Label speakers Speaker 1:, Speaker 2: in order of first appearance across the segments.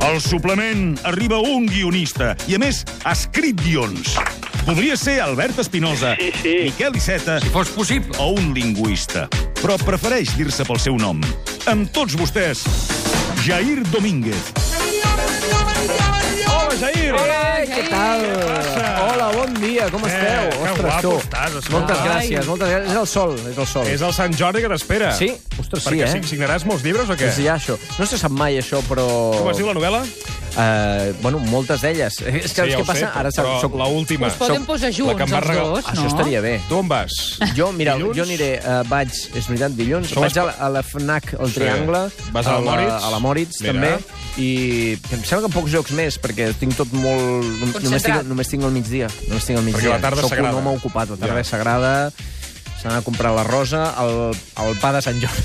Speaker 1: Al suplement arriba un guionista, i a més ha escrit guions. Podria ser Albert Espinosa,
Speaker 2: Sí, sí.
Speaker 1: Miquel Iceta
Speaker 3: Si fos possible.
Speaker 1: o un lingüista, però prefereix dir-se pel seu nom. Amb tots vostès, Jair Domínguez. Hola, Jair!
Speaker 4: Eh, què tal? Hola, bon dia, com esteu?
Speaker 5: Eh, que guapo estàs, escolta.
Speaker 4: moltes
Speaker 5: Ai.
Speaker 4: gràcies, moltes gràcies. És el sol, és el sol.
Speaker 5: És el Sant Jordi que t'espera.
Speaker 4: Sí? Ostres, sí,
Speaker 5: Perquè
Speaker 4: eh?
Speaker 5: Perquè signaràs molts llibres o què?
Speaker 4: És Doncs ja això. No se sap mai això, però...
Speaker 5: Com es diu la novel·la?
Speaker 4: Eh, bueno, moltes d'elles. És que
Speaker 5: sí,
Speaker 4: saps
Speaker 5: ja
Speaker 4: què
Speaker 5: ho
Speaker 4: passa?
Speaker 5: sé,
Speaker 4: Ara soc...
Speaker 5: però
Speaker 4: soc...
Speaker 5: la última.
Speaker 6: Us poden
Speaker 4: Som-
Speaker 6: posar junts,
Speaker 5: que em va
Speaker 6: els
Speaker 5: regalar-
Speaker 6: dos,
Speaker 4: Això
Speaker 6: no?
Speaker 4: estaria bé.
Speaker 5: Tu on vas?
Speaker 4: Jo, mira,
Speaker 5: Dilluns?
Speaker 4: jo aniré, eh, vaig, és veritat, dilluns,
Speaker 5: Som
Speaker 4: vaig a la, a la FNAC, al Triangle,
Speaker 5: Vas a la Moritz?
Speaker 4: a la Moritz
Speaker 5: Mira.
Speaker 4: també, i em sembla que pocs jocs més, perquè tinc tot molt... nom- Només
Speaker 6: Concentrat.
Speaker 4: tinc, només tinc el migdia. Només tinc el migdia.
Speaker 5: la tarda és
Speaker 4: Soc
Speaker 5: sagrada.
Speaker 4: un home ocupat, la tarda
Speaker 5: Ja.
Speaker 4: és sagrada, s'ha d'anar a comprar la rosa, el, el pa de Sant Jordi.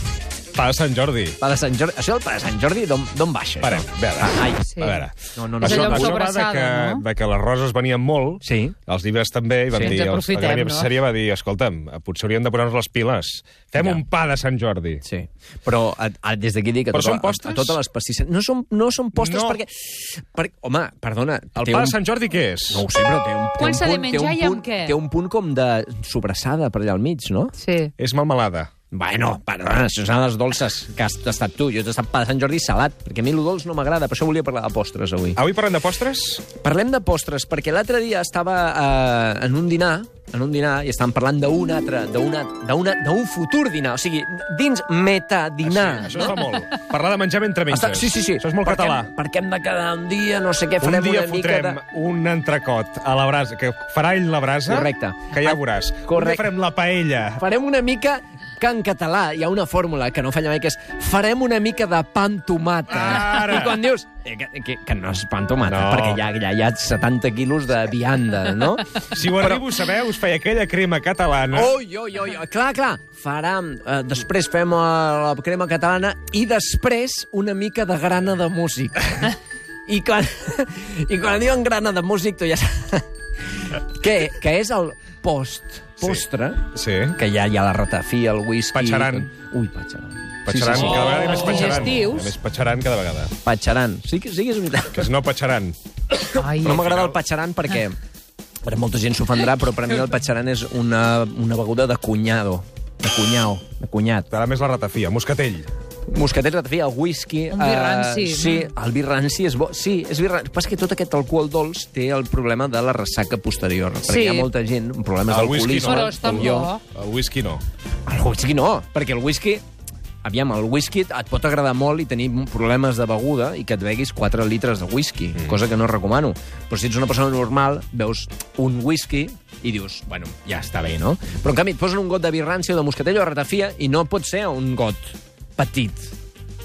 Speaker 5: Pa de Sant Jordi.
Speaker 4: Pa de Sant Jordi. Això del pa de Sant Jordi, d'on d'on baixa?
Speaker 5: Parem, a veure.
Speaker 4: Ai,
Speaker 6: Sí.
Speaker 5: A veure.
Speaker 4: no, no, no.
Speaker 6: És allò
Speaker 4: no,
Speaker 6: amb
Speaker 5: Això
Speaker 4: no.
Speaker 6: sobre-
Speaker 5: va de que,
Speaker 6: sobrassada, no?
Speaker 5: de que les roses venien molt,
Speaker 4: Sí.
Speaker 5: els llibres també, i van
Speaker 4: Sí,
Speaker 5: dir...
Speaker 6: ens
Speaker 5: els-
Speaker 6: aprofitem,
Speaker 5: la Gràcia
Speaker 6: no?
Speaker 5: Seria va dir, escolta'm, potser hauríem de posar-nos les piles. Fem
Speaker 4: Ja.
Speaker 5: un pa de Sant Jordi.
Speaker 4: Sí, però a, a, des d'aquí dic a,
Speaker 5: Però
Speaker 4: tota,
Speaker 5: són
Speaker 4: a,
Speaker 5: postres?
Speaker 4: a totes les pastisseries... No són, no són postres
Speaker 5: No.
Speaker 4: perquè, perquè... Home, perdona...
Speaker 5: El
Speaker 4: té
Speaker 5: pa
Speaker 4: un-
Speaker 5: de Sant Jordi què és?
Speaker 4: No ho sé, però té un, té
Speaker 6: Quan
Speaker 4: un
Speaker 6: s'ha de
Speaker 4: punt... té
Speaker 6: menjar
Speaker 4: un
Speaker 6: i amb
Speaker 4: punt,
Speaker 6: què?
Speaker 4: Té un punt com de sobrassada per allà al mig, no?
Speaker 6: Sí.
Speaker 5: És melmelada.
Speaker 4: Bueno, perdona, això són les dolces que has tastat tu. Jo he tastat pa de Sant Jordi salat, perquè a mi el dolç no m'agrada, per això volia parlar de postres avui.
Speaker 5: Avui parlem de postres?
Speaker 4: Parlem de postres, perquè l'altre dia estava eh, en un dinar en un dinar i estàvem parlant d'un altre, d'una- d'una- d'un futur dinar, o sigui, dins metadinar.
Speaker 5: Això es fa molt. Parlar de menjar mentre menges.
Speaker 4: Està, sí, sí, sí.
Speaker 5: Això és molt
Speaker 4: perquè,
Speaker 5: català.
Speaker 4: Perquè hem de quedar un dia, no sé què,
Speaker 5: Un
Speaker 4: farem
Speaker 5: dia
Speaker 4: una mica
Speaker 5: fotrem
Speaker 4: de...
Speaker 5: un entrecot a la brasa, que farà ell la brasa.
Speaker 4: Correcte.
Speaker 5: Que ja
Speaker 4: Ah,
Speaker 5: ho veuràs. Un
Speaker 4: correcte.
Speaker 5: dia farem la paella.
Speaker 4: Farem una mica que en català hi ha una fórmula que no falla mai, que és farem una mica de pa amb tomata.
Speaker 5: Ara.
Speaker 4: I quan dius eh, que, que, que no és pa amb tomata,
Speaker 5: No.
Speaker 4: perquè ja, ja hi ha 70 quilos de vianda, no?
Speaker 5: Si ho arribo a saber, us feia aquella crema catalana.
Speaker 4: Oi, oi, oi, oi. Clar, clar, farem... Eh, després fem eh, la crema catalana i després una mica de grana de músic. I quan, I quan diuen grana de músic, tu ja saps... Que, que és el post, postre,
Speaker 5: Sí.
Speaker 4: que ja hi ha la ratafia, el whisky...
Speaker 5: Patxaran.
Speaker 4: Ui, patxaran.
Speaker 5: Patxaran,
Speaker 4: Sí, sí, sí.
Speaker 5: cada vegada hi ha més
Speaker 6: Oh.
Speaker 5: patxaran.
Speaker 6: Digestius.
Speaker 5: Hi ha Més patxaran cada vegada.
Speaker 4: Patxaran. Sí que, sí que és veritat.
Speaker 5: Que és no patxaran.
Speaker 6: Ai,
Speaker 4: No m'agrada el patxaran perquè... Per molta gent s'ofendrà, però per a mi el patxaran és una, una beguda de cunyado. De cunyao, de cunyat.
Speaker 5: T'agrada més la ratafia, moscatell.
Speaker 4: Moscatell, ratafia, el whisky...
Speaker 6: Un vi
Speaker 4: eh,
Speaker 6: ranci.
Speaker 4: sí, el vi ranci és bo. Sí, és vi ranci. Però és que tot aquest alcohol dolç té el problema de la ressaca posterior. Perquè
Speaker 6: Sí.
Speaker 4: hi ha molta gent amb problemes
Speaker 5: El whisky
Speaker 4: d'alcoholisme.
Speaker 5: no.
Speaker 6: Però està
Speaker 4: com
Speaker 6: bo.
Speaker 4: jo.
Speaker 5: El whisky no.
Speaker 4: El whisky no, perquè el whisky... Aviam, el whisky et pot agradar molt i tenir problemes de beguda i que et beguis 4 litres de whisky, mm. cosa que no recomano. Però si ets una persona normal, veus un whisky i dius, bueno, ja està bé, no? Però en canvi et posen un got de birrància o de moscatell o de ratafia i no pot ser un got petit.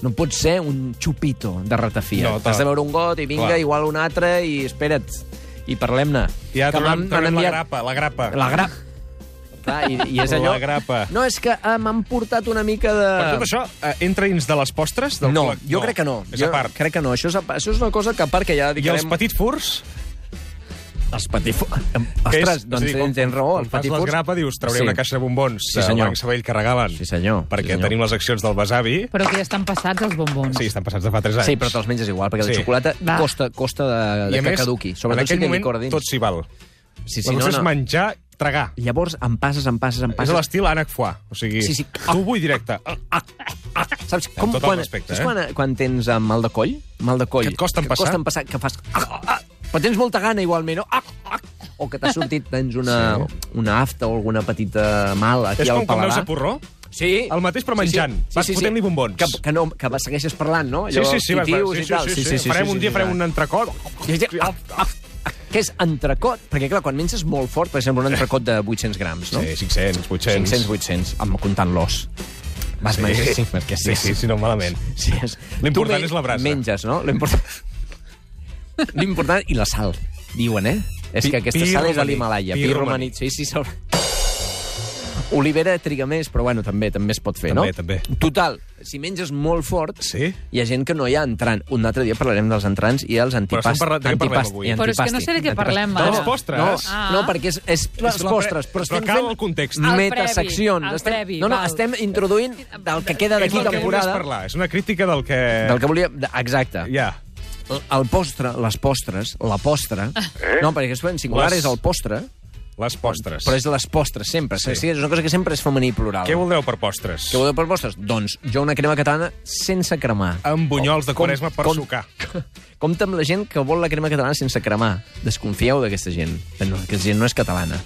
Speaker 4: No pot ser un xupito de ratafia.
Speaker 5: No,
Speaker 4: No, T'has de veure un got i vinga,
Speaker 5: Clar.
Speaker 4: Clar. igual un altre i espera't i parlem-ne.
Speaker 5: I ara
Speaker 4: Que m'han-
Speaker 5: trobem,
Speaker 4: m'han
Speaker 5: trobem la
Speaker 4: enviat-
Speaker 5: grapa, la grapa.
Speaker 4: la grapa. Clar, i, i és
Speaker 5: La
Speaker 4: allò...
Speaker 5: grapa.
Speaker 4: No, és que ah, m'han portat una mica de...
Speaker 5: Per tot això, eh, entra dins de les postres? Del
Speaker 4: No,
Speaker 5: col·lec-
Speaker 4: jo crec que no.
Speaker 5: És
Speaker 4: jo
Speaker 5: a part.
Speaker 4: crec que no. Això és, a, pa- això és una cosa que a part que ja
Speaker 5: I
Speaker 4: dedicarem...
Speaker 5: els petits furs?
Speaker 4: Els patifurs... Ostres,
Speaker 5: És-
Speaker 4: doncs
Speaker 5: és a dir,
Speaker 4: tens, tens raó.
Speaker 5: Quan
Speaker 4: Els
Speaker 5: fas
Speaker 4: patifurs...
Speaker 5: l'esgrapa dius, trauré
Speaker 4: Sí.
Speaker 5: una caixa de bombons
Speaker 4: Sí,
Speaker 5: del
Speaker 4: senyor.
Speaker 5: Banc Sabadell que regalen.
Speaker 4: Sí, senyor. Sí,
Speaker 5: Perquè
Speaker 4: senyor.
Speaker 5: tenim les accions del besavi.
Speaker 6: Però que ja estan passats els bombons.
Speaker 5: Sí, estan passats de fa 3 anys.
Speaker 4: Sí, però te'ls menges igual, perquè
Speaker 5: Sí.
Speaker 4: la xocolata
Speaker 6: Va.
Speaker 4: costa, costa de,
Speaker 5: I
Speaker 4: de
Speaker 5: a
Speaker 4: que
Speaker 5: més,
Speaker 4: caduqui.
Speaker 5: en
Speaker 4: Sobretot si
Speaker 5: aquell
Speaker 4: té
Speaker 5: moment
Speaker 4: licor a dins.
Speaker 5: tot s'hi val.
Speaker 4: Sí,
Speaker 5: la
Speaker 4: sí,
Speaker 5: cosa
Speaker 4: no,
Speaker 5: és
Speaker 4: no.
Speaker 5: menjar, tragar.
Speaker 4: Llavors em passes, em passes, em
Speaker 5: És a
Speaker 4: passes.
Speaker 5: l'estil Ànec Foix. O sigui,
Speaker 4: Sí, sí.
Speaker 5: tu vull directe.
Speaker 4: Saps com
Speaker 5: tot el
Speaker 4: quan,
Speaker 5: respecte,
Speaker 4: saps
Speaker 5: eh?
Speaker 4: quan, quan tens eh, mal de coll? Mal de coll.
Speaker 5: Que et costa
Speaker 4: que
Speaker 5: empassar?
Speaker 4: costa empassar, que fas... Ah, ah, però tens molta gana igualment, no? Ah, ah, o que t'ha sortit, tens una, sí. una afta o alguna petita mala aquí
Speaker 5: És
Speaker 4: al
Speaker 5: com quan veus
Speaker 4: paladar.
Speaker 5: a porró?
Speaker 4: Sí.
Speaker 5: El mateix, però menjant. Vas fotent-li bombons.
Speaker 4: Que, que, no, que segueixes parlant, no?
Speaker 5: Sí,
Speaker 4: Allò,
Speaker 5: sí, sí. vas-
Speaker 4: titius
Speaker 5: sí,
Speaker 4: i tal.
Speaker 5: sí, sí, sí. Farem un dia, farem un entrecot.
Speaker 4: I és dir, ah, ah, ah, que és entrecot, perquè clar, quan menges molt fort, per exemple, un entrecot de 800 grams, no?
Speaker 5: Sí, 500, 800.
Speaker 4: 500, 800, amb comptant l'os. Vas menjar, sí, perquè
Speaker 5: Sí, sí, sí, no, malament.
Speaker 4: Sí, és...
Speaker 5: L'important
Speaker 4: Tu men-
Speaker 5: és la brasa.
Speaker 4: Menges, no? L'important... L'important... I la sal, diuen, eh? És
Speaker 5: Pi-
Speaker 4: que aquesta
Speaker 5: pi
Speaker 4: sal és de
Speaker 5: romaní.
Speaker 4: l'Himalaya.
Speaker 5: Pi
Speaker 4: Pi
Speaker 5: romaní.
Speaker 4: romaní. Sí, sí, sal... Olivera triga més, però bueno, també també es pot fer,
Speaker 5: També,
Speaker 4: no?
Speaker 5: també.
Speaker 4: Total, si menges molt fort,
Speaker 5: Sí?
Speaker 4: hi ha gent que no hi ha entrant. Un altre dia parlarem dels entrants i els
Speaker 5: estem
Speaker 4: antipast,
Speaker 5: parlant- de què parlem
Speaker 4: antipast,
Speaker 5: avui?
Speaker 4: i
Speaker 6: Però
Speaker 4: antipasti.
Speaker 6: és que no sé de què
Speaker 4: Antipasti.
Speaker 6: parlem,
Speaker 5: ara.
Speaker 4: No,
Speaker 5: Dels postres.
Speaker 4: No,
Speaker 6: Ah.
Speaker 4: no perquè és, és,
Speaker 5: la
Speaker 4: les
Speaker 5: pre-
Speaker 4: postres,
Speaker 5: però
Speaker 4: però estem
Speaker 5: cal
Speaker 4: fent
Speaker 5: el context.
Speaker 6: El previ,
Speaker 4: metaseccions.
Speaker 6: el
Speaker 4: Estem-
Speaker 6: previ,
Speaker 4: no, no,
Speaker 6: val.
Speaker 4: estem introduint del que queda
Speaker 5: És
Speaker 4: d'aquí
Speaker 5: del que volies
Speaker 4: temporada.
Speaker 5: parlar. És una crítica del que...
Speaker 4: Del que volia... de- Exacte.
Speaker 5: Eh. Ja.
Speaker 4: el postre, les postres, la postra... Eh? No, perquè això en singular
Speaker 5: Les-
Speaker 4: és el postre,
Speaker 5: Les postres.
Speaker 4: però és les postres, sempre.
Speaker 5: Sí.
Speaker 4: Sí. És una cosa que sempre és femení i plural.
Speaker 5: Què voldreu per postres?
Speaker 4: Què voleu per postres? Doncs jo una crema catalana sense cremar.
Speaker 5: Amb bunyols de
Speaker 4: Com-
Speaker 5: quaresma per
Speaker 4: com-
Speaker 5: sucar.
Speaker 4: Compte amb la gent que vol la crema catalana sense cremar. Desconfieu d'aquesta gent. No, aquesta gent no és catalana.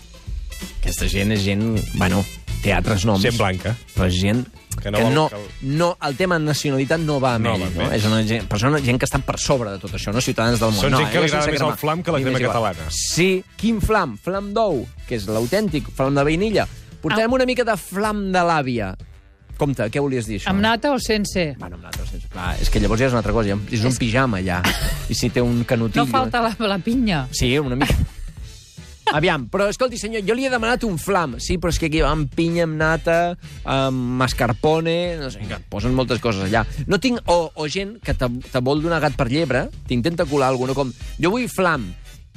Speaker 4: Aquesta gent és gent... Bueno, té altres noms.
Speaker 5: Gent blanca.
Speaker 4: Però és gent
Speaker 5: Que
Speaker 4: que
Speaker 5: no
Speaker 4: no, que
Speaker 5: vol-
Speaker 4: no,
Speaker 5: que el-
Speaker 4: no, el tema nacionalitat no va amb
Speaker 5: No
Speaker 4: ell,
Speaker 5: va amb
Speaker 4: no?
Speaker 5: ell.
Speaker 4: És una gent, persona, gent que està per sobre de tot això, no ciutadans del món.
Speaker 5: Són
Speaker 4: no,
Speaker 5: gent que
Speaker 4: eh,
Speaker 5: li agrada
Speaker 4: sense
Speaker 5: més el
Speaker 4: cremar.
Speaker 5: flam que la
Speaker 4: I
Speaker 5: crema
Speaker 4: m'és igual.
Speaker 5: catalana.
Speaker 4: Sí, quin flam? Flam d'ou, que és l'autèntic, flam de vainilla.
Speaker 6: Ah.
Speaker 4: Portarem una mica de flam de l'àvia. Compte, què volies dir, això?
Speaker 6: Amb nata o sense?
Speaker 4: Bueno, amb nata, sense... Clar, és que llavors ja és una altra cosa. ja És un pijama, ja. I si té un canutillo...
Speaker 6: No falta la, la pinya.
Speaker 4: Sí, una mica... Aviam, però escolti, senyor, jo li he demanat un flam. Sí, però és que aquí va amb pinya, amb nata, amb mascarpone... No sé, que posen moltes coses allà. No tinc... O, o gent que te, te vol donar gat per llebre, t'intenta colar alguna com... Jo vull flam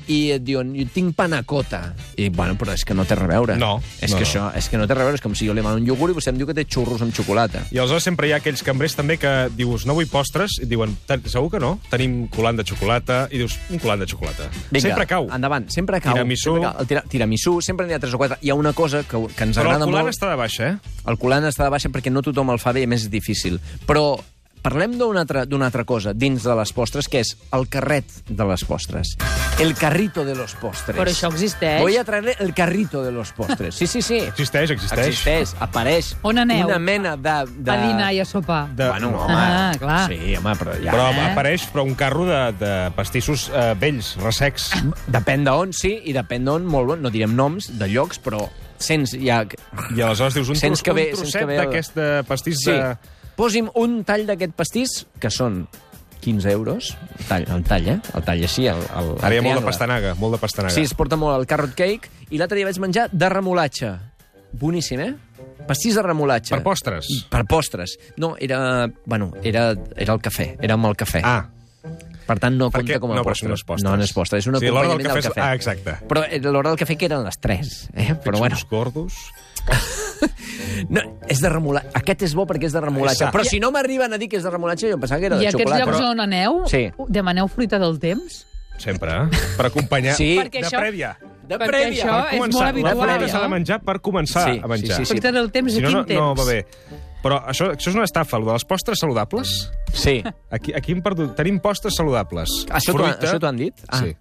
Speaker 4: i et diuen, jo tinc panacota. I, bueno, però és que no té res a veure.
Speaker 5: No,
Speaker 4: És
Speaker 5: no,
Speaker 4: que
Speaker 5: no.
Speaker 4: això, és que no té res a veure. És com si jo li demano un iogurt i vostè em diu que té xurros amb xocolata.
Speaker 5: I aleshores sempre hi ha aquells cambrers també que dius, no vull postres, i et diuen, "Ten- segur que no? Tenim colant de xocolata, i dius, un colant de xocolata.
Speaker 4: Vinga,
Speaker 5: sempre cau.
Speaker 4: Endavant, sempre cau.
Speaker 5: Tiramisú.
Speaker 4: Sempre cau. El tira, tiramisú, sempre n'hi ha 3 o 4. Hi ha una cosa que, que ens
Speaker 5: Però el
Speaker 4: agrada
Speaker 5: colant
Speaker 4: molt.
Speaker 5: està de baixa, eh?
Speaker 4: El colant està de baixa perquè no tothom el fa bé i a més és difícil. Però parlem d'una altra, d'una altra cosa dins de les postres, que és el carret de les postres. El carrito de los postres.
Speaker 6: Però això existeix?
Speaker 4: Voy a traer el carrito de los postres. Sí, sí, sí.
Speaker 5: Existeix, existeix.
Speaker 4: Existeix, apareix.
Speaker 6: On aneu?
Speaker 4: Una mena de... de...
Speaker 6: A dinar i a sopar.
Speaker 5: De-
Speaker 4: Bueno,
Speaker 5: no.
Speaker 4: home.
Speaker 6: Ah, clar.
Speaker 4: Sí, home, però ja...
Speaker 5: Però
Speaker 6: Eh?
Speaker 5: apareix però un carro de, de pastissos eh, vells, ressecs.
Speaker 4: Depèn d'on, sí, i depèn d'on, molt bon, no direm noms, de llocs, però sents ja...
Speaker 5: I aleshores dius, un,
Speaker 4: Sents
Speaker 5: tros,
Speaker 4: que ve-
Speaker 5: un
Speaker 4: sents
Speaker 5: trosset
Speaker 4: que ve el-
Speaker 5: d'aquest de pastís
Speaker 4: Sí.
Speaker 5: de...
Speaker 4: Posi'm un tall d'aquest pastís, que són 15 euros. El tall, el tall eh? El tall així, el, el, el
Speaker 5: Ara hi ha molt de
Speaker 4: triangle.
Speaker 5: pastanaga, molt de pastanaga.
Speaker 4: Sí, es porta molt el carrot cake. I l'altre dia vaig menjar de remolatxa. Boníssim, eh? Pastís de remolatxa.
Speaker 5: Per postres?
Speaker 4: Per postres. No, era... Bueno, era, era el cafè. Era amb el cafè.
Speaker 5: Ah,
Speaker 4: per tant, no
Speaker 5: perquè...
Speaker 4: compta com a
Speaker 5: no, però
Speaker 4: postre.
Speaker 5: això no és postres.
Speaker 4: No, no és postre. És un
Speaker 5: sí, l'hora del
Speaker 4: acompanyament
Speaker 5: cafè.
Speaker 4: del
Speaker 5: és-
Speaker 4: cafè.
Speaker 5: Ah, exacte.
Speaker 4: Però eh, l'hora del cafè que eren les 3, eh? Però bueno,
Speaker 5: Uns gordos...
Speaker 4: no, és de remolatxa. Aquest és bo perquè és de remolatxa.
Speaker 5: Exacte.
Speaker 4: Però si no m'arriben a dir que és de remolatxa, jo em pensava que era
Speaker 6: I
Speaker 4: de
Speaker 6: a aquests
Speaker 4: xocolata.
Speaker 6: llocs on aneu,
Speaker 4: Sí.
Speaker 6: demaneu fruita del temps?
Speaker 5: Sempre, eh? Per acompanyar...
Speaker 4: Sí.
Speaker 6: Perquè
Speaker 5: de
Speaker 6: això-
Speaker 5: prèvia.
Speaker 4: De
Speaker 6: Perquè
Speaker 4: prèvia.
Speaker 6: això
Speaker 5: Per
Speaker 6: és
Speaker 5: començar,
Speaker 6: molt
Speaker 5: La
Speaker 6: habitual,
Speaker 5: fruita s'ha de
Speaker 6: no?
Speaker 5: menjar per començar
Speaker 4: Sí,
Speaker 5: a menjar.
Speaker 4: sí, sí, sí.
Speaker 6: Fruita del temps,
Speaker 5: Si no,
Speaker 6: quin
Speaker 5: no,
Speaker 6: temps?
Speaker 5: no va bé. Però això, això és una estafa, el de les postres saludables.
Speaker 4: Sí.
Speaker 5: Aquí, aquí hem perdut... Tenim postres saludables.
Speaker 4: Ah, Això t'ho-
Speaker 5: Fruita,
Speaker 4: això t'ho han dit? Ah.
Speaker 5: Sí.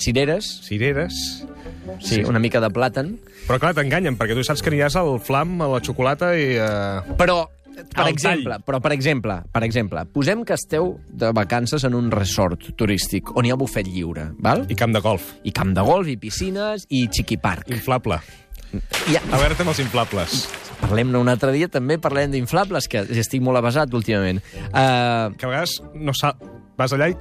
Speaker 4: Cireres,
Speaker 5: Cireres.
Speaker 4: sí, una mica de plàtan.
Speaker 5: Però clar, t'enganyen, perquè tu saps que aniràs al flam, a la xocolata i... Eh...
Speaker 4: Però, per
Speaker 5: Al
Speaker 4: exemple,
Speaker 5: tall.
Speaker 4: però per exemple, per exemple, posem que esteu de vacances en un resort turístic on hi ha bufet lliure, val?
Speaker 5: I camp de golf.
Speaker 4: I camp de golf, i piscines, i chiquiparc.
Speaker 5: Inflable.
Speaker 4: I ja,
Speaker 5: Alerta amb els inflables.
Speaker 4: parlem-ne un altre dia, també parlem d'inflables, que estic molt avasat últimament. Uh,
Speaker 5: Que a vegades no sal... vas allà i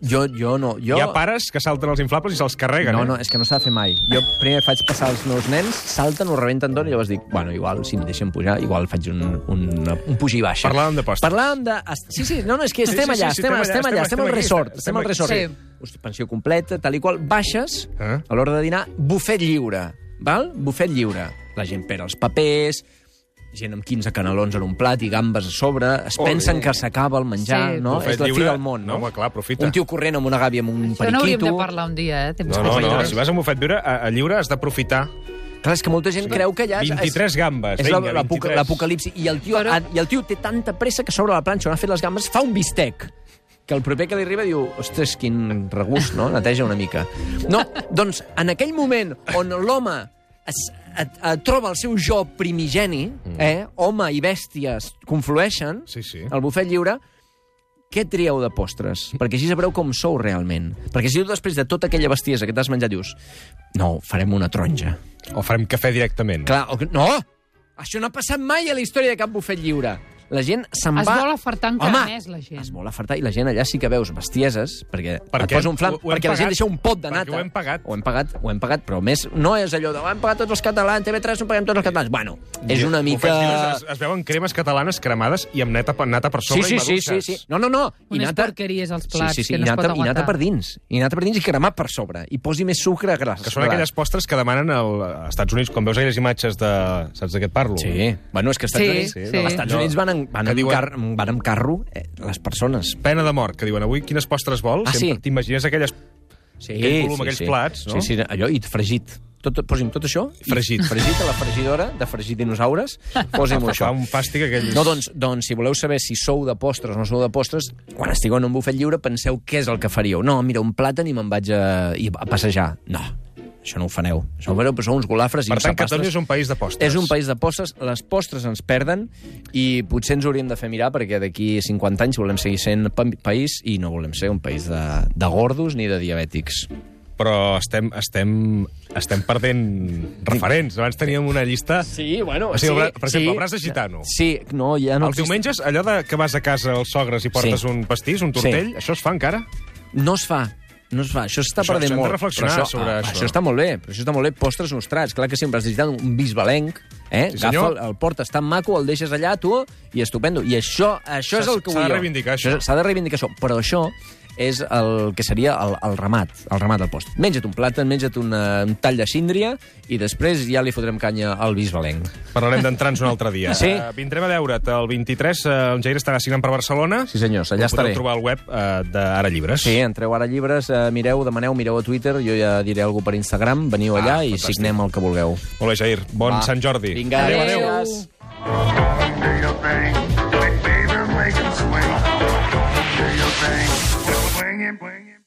Speaker 4: jo, jo no... Jo...
Speaker 5: hi ha pares que salten els inflables i se'ls carreguen.
Speaker 4: No,
Speaker 5: eh?
Speaker 4: no, és que no s'ha de fer mai. Jo primer faig passar els meus nens, salten, ho rebenten tot, i llavors dic, bueno, igual, si em deixen pujar, igual faig un, un, un puig i baixa.
Speaker 5: Parlàvem de postres.
Speaker 4: Parlàvem de... Sí, sí, no, no, és que
Speaker 5: Sí,
Speaker 4: estem
Speaker 5: sí, sí,
Speaker 4: allà,
Speaker 5: sí,
Speaker 4: estem, estem allà, estem al
Speaker 5: aquí,
Speaker 4: resort,
Speaker 5: estem
Speaker 4: estem al
Speaker 5: aquí.
Speaker 4: resort.
Speaker 6: Sí.
Speaker 4: Hosti, Pensió completa, tal i qual. Baixes,
Speaker 5: Eh?
Speaker 4: a l'hora de dinar, bufet lliure, val? Bufet lliure. La gent perd els papers, gent amb 15 canelons en un plat i gambes a sobre, es
Speaker 5: Ole.
Speaker 4: pensen que s'acaba el menjar,
Speaker 6: Sí.
Speaker 4: no?
Speaker 5: Bufet
Speaker 4: és la fi
Speaker 5: lliure,
Speaker 4: del món, no?
Speaker 5: home, clar, aprofita.
Speaker 4: Un tio corrent amb una gàbia amb un
Speaker 6: Això no hauríem
Speaker 4: periquito...
Speaker 6: de parlar un dia, eh? Temps
Speaker 5: No, no, no,
Speaker 6: companyons.
Speaker 5: si vas a un bufet lliure, a, a lliure has d'aprofitar.
Speaker 4: Clar, és que molta gent creu que ja... és-
Speaker 5: 23 gambes,
Speaker 4: És la-
Speaker 5: vinga,
Speaker 4: l'apoca-
Speaker 5: 23.
Speaker 4: l'apocalipsi. I, el tio,
Speaker 6: Però-
Speaker 4: Però... I el tio té tanta pressa que sobre la planxa on ha fet les gambes fa un bistec que el proper que li arriba diu, ostres, quin regust, no? Neteja una mica. No, doncs en aquell moment on l'home es- et- et troba el seu jo primigeni, eh? home i bèstia es conflueixen,
Speaker 5: Mm. Sí, sí.
Speaker 4: el bufet lliure, què trieu de postres? Perquè així sabreu com sou realment. Perquè si tu després de tota aquella bestiesa que t'has menjat dius, no, farem una taronja.
Speaker 5: O farem cafè directament.
Speaker 4: Clar, o... que- no! Això no ha passat mai a la història de cap bufet lliure. La gent se'n va...
Speaker 6: Es vol afartar encara més, la gent.
Speaker 4: Es vol afartar, i la gent allà sí que veus bestieses, perquè
Speaker 5: Per
Speaker 4: et
Speaker 5: què?
Speaker 4: posa un flam,
Speaker 5: Ho- ho hem
Speaker 4: perquè la gent
Speaker 5: pagat.
Speaker 4: deixa un pot de
Speaker 5: Perquè
Speaker 4: nata.
Speaker 5: ho hem pagat.
Speaker 4: Ho hem pagat, ho hem pagat, però a més no és allò de ho hem pagat tots els catalans, TV3 ho paguem tots els catalans. Bueno, és una mica...
Speaker 5: Bufets lliures, Es, es veuen cremes catalanes cremades i amb neta, nata per
Speaker 4: Sí,
Speaker 5: sobre
Speaker 4: sí,
Speaker 5: i
Speaker 4: sí, sí,
Speaker 5: maduixes.
Speaker 4: sí. No, no, no. I
Speaker 6: Unes
Speaker 4: nata-
Speaker 6: porqueries als plats
Speaker 4: sí, sí, sí.
Speaker 6: que
Speaker 4: i
Speaker 6: no es pot
Speaker 4: nata, I nata
Speaker 6: aguantar.
Speaker 4: per dins. I nata per dins i cremat per sobre. I posi més sucre gras.
Speaker 5: Que són aquelles postres que demanen al- als Estats Units, quan veus aquelles imatges de... Saps de què et parlo?
Speaker 4: Sí. Bueno, és que als Estats
Speaker 6: Sí,
Speaker 4: Units,
Speaker 6: sí.
Speaker 4: als Estats Units van en amb, van,
Speaker 5: Que
Speaker 4: amb
Speaker 5: diuen-
Speaker 4: car van amb carro eh, les persones.
Speaker 5: Pena de mort, que diuen avui quines postres vols?
Speaker 4: Ah, sí?
Speaker 5: Sempre T'imagines aquelles
Speaker 4: Sí,
Speaker 5: Aquell volum, aquells plats, no?
Speaker 4: Sí, sí, allò, i fregit. Tot, posi'm tot això. i
Speaker 5: Fregit.
Speaker 4: Fregit a la fregidora de fregir dinosaures. Posi'm
Speaker 5: Fa
Speaker 4: això.
Speaker 5: un fàstic aquells...
Speaker 4: No, doncs, doncs, si voleu saber si sou de postres o no sou de postres, quan estigueu en un bufet lliure, penseu què és el que faríeu. No, mira, un plàtan i me'n vaig a, i a passejar. No, això no ho fareu. Això ho fareu, però sou uns golafres i
Speaker 5: Per
Speaker 4: uns
Speaker 5: tant,
Speaker 4: sapastres.
Speaker 5: Catalunya és un país de postres.
Speaker 4: És un país de postres, les postres ens perden i potser ens hauríem de fer mirar perquè d'aquí 50 anys volem seguir sent pa país i no volem ser un país de, de gordos ni de diabètics.
Speaker 5: Però estem, estem, estem perdent referents. Abans teníem una llista...
Speaker 4: Sí, bueno,
Speaker 5: O sigui, el bra- per exemple, el braç de gitano.
Speaker 4: Sí, no, ja no
Speaker 5: Els diumenges, allò de que vas a casa als sogres i portes
Speaker 4: Sí.
Speaker 5: un pastís, un tortell, això es fa encara?
Speaker 4: No es fa. No es fa. Això està
Speaker 5: Això-
Speaker 4: perdent
Speaker 5: això hem de
Speaker 4: molt.
Speaker 5: reflexionar
Speaker 4: Però
Speaker 5: sobre
Speaker 4: ah,
Speaker 5: això.
Speaker 4: Això està molt bé. Però això està molt bé. Postres nostrats. Clar que sempre has necessitat un bisbalenc. Eh?
Speaker 5: Sí,
Speaker 4: Agafa
Speaker 5: senyor.
Speaker 4: el, el portes tan maco, el deixes allà, tu, i estupendo. I això, això és
Speaker 5: S'ha-
Speaker 4: el que
Speaker 5: s'ha de
Speaker 4: vull jo.
Speaker 5: reivindicar, això.
Speaker 4: és- S'ha de reivindicar això. Però això és el que seria el, el ramat, el ramat del post. Menja't un plàtan, menja't una, un tall de síndria i després ja li fotrem canya al bisbalenc.
Speaker 5: Parlarem d'entrants un altre dia.
Speaker 4: Sí.
Speaker 5: Eh, vindrem a veure't el 23, eh, en Jair estarà signant per Barcelona.
Speaker 4: Sí, senyors, allà
Speaker 5: Ho podeu
Speaker 4: estaré.
Speaker 5: trobar al web eh, d'Ara Llibres.
Speaker 4: Sí, entreu ara llibres, eh, mireu, demaneu, mireu a Twitter, jo ja diré alguna per Instagram, veniu allà
Speaker 5: Ah,
Speaker 4: i
Speaker 5: fantàstic.
Speaker 4: signem el que vulgueu.
Speaker 5: Molt bé, Jair. Bon
Speaker 4: Va.
Speaker 5: Sant Jordi.
Speaker 4: Vinga, adéu, adéu.
Speaker 6: Adéu.
Speaker 2: Do your thing. Do it, baby. Make 'em swing. Do your thing. Swing and bring.